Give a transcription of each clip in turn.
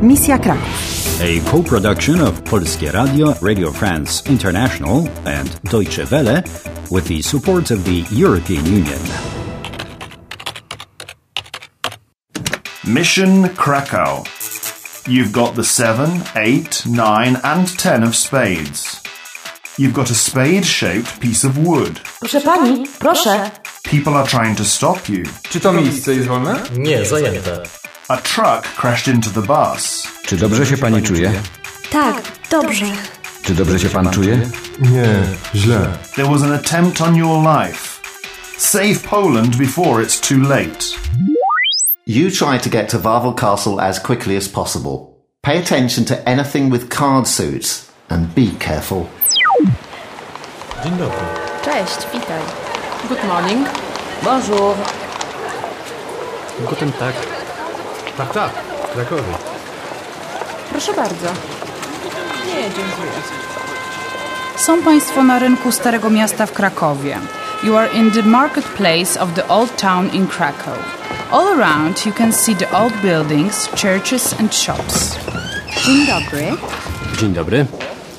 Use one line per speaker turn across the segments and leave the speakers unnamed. Misja Kraków.
A co-production of Polskie Radio, Radio France International and Deutsche Welle with the support of the European Union.
Mission Krakow. You've got the 7, 8, 9, and 10 of spades. You've got a spade shaped piece of wood.
Proszę pani, proszę.
People are trying to stop you.
Czy to miejsce jest wolne?
Nie, zajęte.
A truck crashed into the bus.
Czy dobrze się pani czuje?
Tak, dobrze.
Czy dobrze się pan czuje?
Nie, źle.
There was an attempt on your life. Save Poland before it's too late.
You try to get to Varvel Castle as quickly as possible. Pay attention to anything with card suits and be careful.
Dzień dobry.
Cześć, witaj.
Good morning. Bonjour.
Guten Tag. Tak, tak. Krakowie.
Proszę bardzo.
Są Państwo na rynku Starego Miasta w Krakowie. You are in the marketplace of the Old Town in Krakow. All around you can see the old buildings, churches and shops.
Dzień dobry.
Dzień dobry.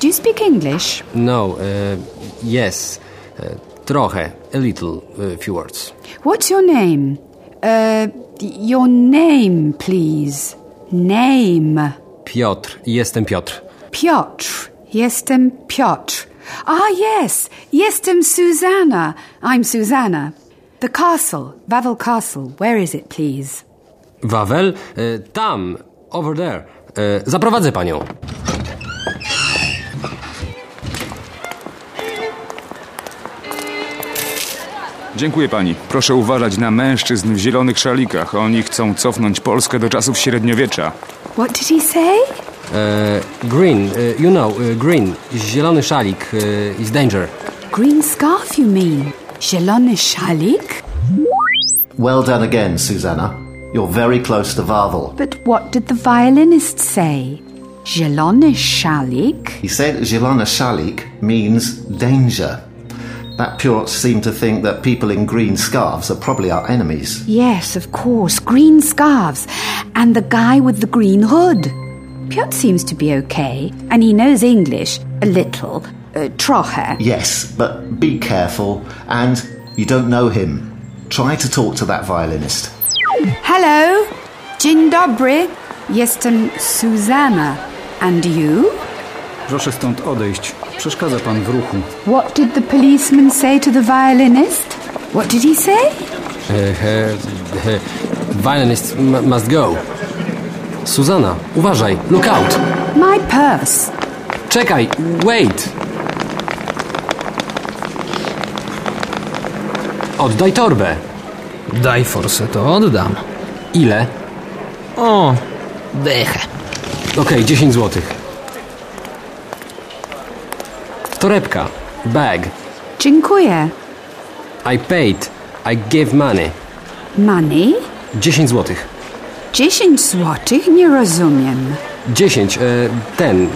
Do you speak English?
No, e, yes. E, trochę. A little. e, few words.
What's your name? Uh, your name, please. Name.
Piotr. Jestem Piotr.
Piotr. Jestem Piotr. Ah, yes. Jestem Susanna. I'm Susanna. The castle, Wawel Castle. Where is it, please?
Wawel? E, tam. Over there. E, zaprowadzę panią.
Dziękuję pani. Proszę uważać na mężczyzn w zielonych szalikach. Oni chcą cofnąć Polskę do czasów średniowiecza.
What did he say?
E, green. E, you know, e, green. Zielony szalik. E, is danger.
Green scarf, you mean? Zielony szalik?
Well done again, Susanna. You're very close to Varvel.
But what did the violinist say? Zielony szalik?
He said Zilana Shalik means danger. That Purot seemed to think that people in green scarves are probably our enemies.
Yes, of course, green scarves. And the guy with the green hood. Piotr seems to be okay, and he knows English, a little. Uh, troche.
Yes, but be careful, and you don't know him. Try to talk to that violinist.
Hello, dzień dobry. Jestem Susanna. And you?
Proszę stąd odejść. Przeszkadza pan w ruchu.
What did the policeman say to the violinist? What did he say?
E, e, e, violinist m- must go. Suzana, uważaj. Look out.
My purse.
Czekaj. Wait. Oddaj torbę.
Daj forsę, to oddam.
Ile?
O, dechę.
Okej, 10 zł. Torebka. Bag.
Dziękuję.
I paid. I gave money.
Money?
10 zł.
10 złotych? Nie rozumiem.
10. E, ten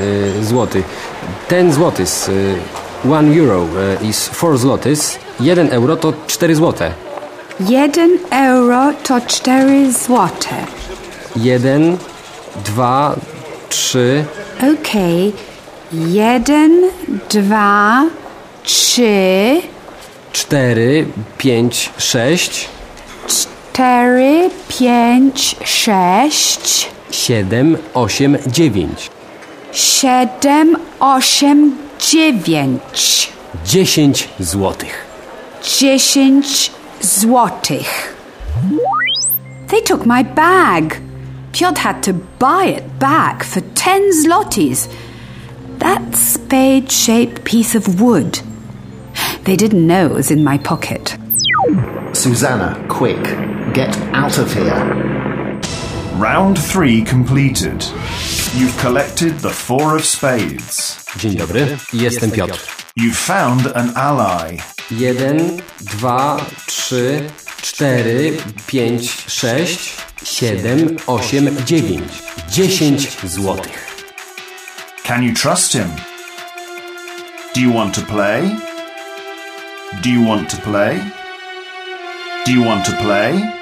e, złoty. 10 złotys. E, 1 euro e, is 4 złotys. 1 euro to 4 złote.
1 euro to 4 złote.
1, 2, 3,
Okej. Jeden, dwa, trzy,
4, 5, 6,
cztery, pięć, sześć,
7, 8, 9.
siedem, osiem, dziewięć,
10 złotych.
dziesięć złotych. They took my bag. Piotr had to buy it back for ten zlotys. That spade-shaped piece of wood. They didn't know it was in my pocket.
Susanna, quick, get out of here.
Round 3 completed. You've collected the 4 of spades.
Dzień dobry, jestem Piotr.
You've found an ally.
1, 2, 3, 4, 5, 6, 7, 8, 9. 10 złotych.
Can you trust him? Do you want to play? Do you want to play? Do you want to play?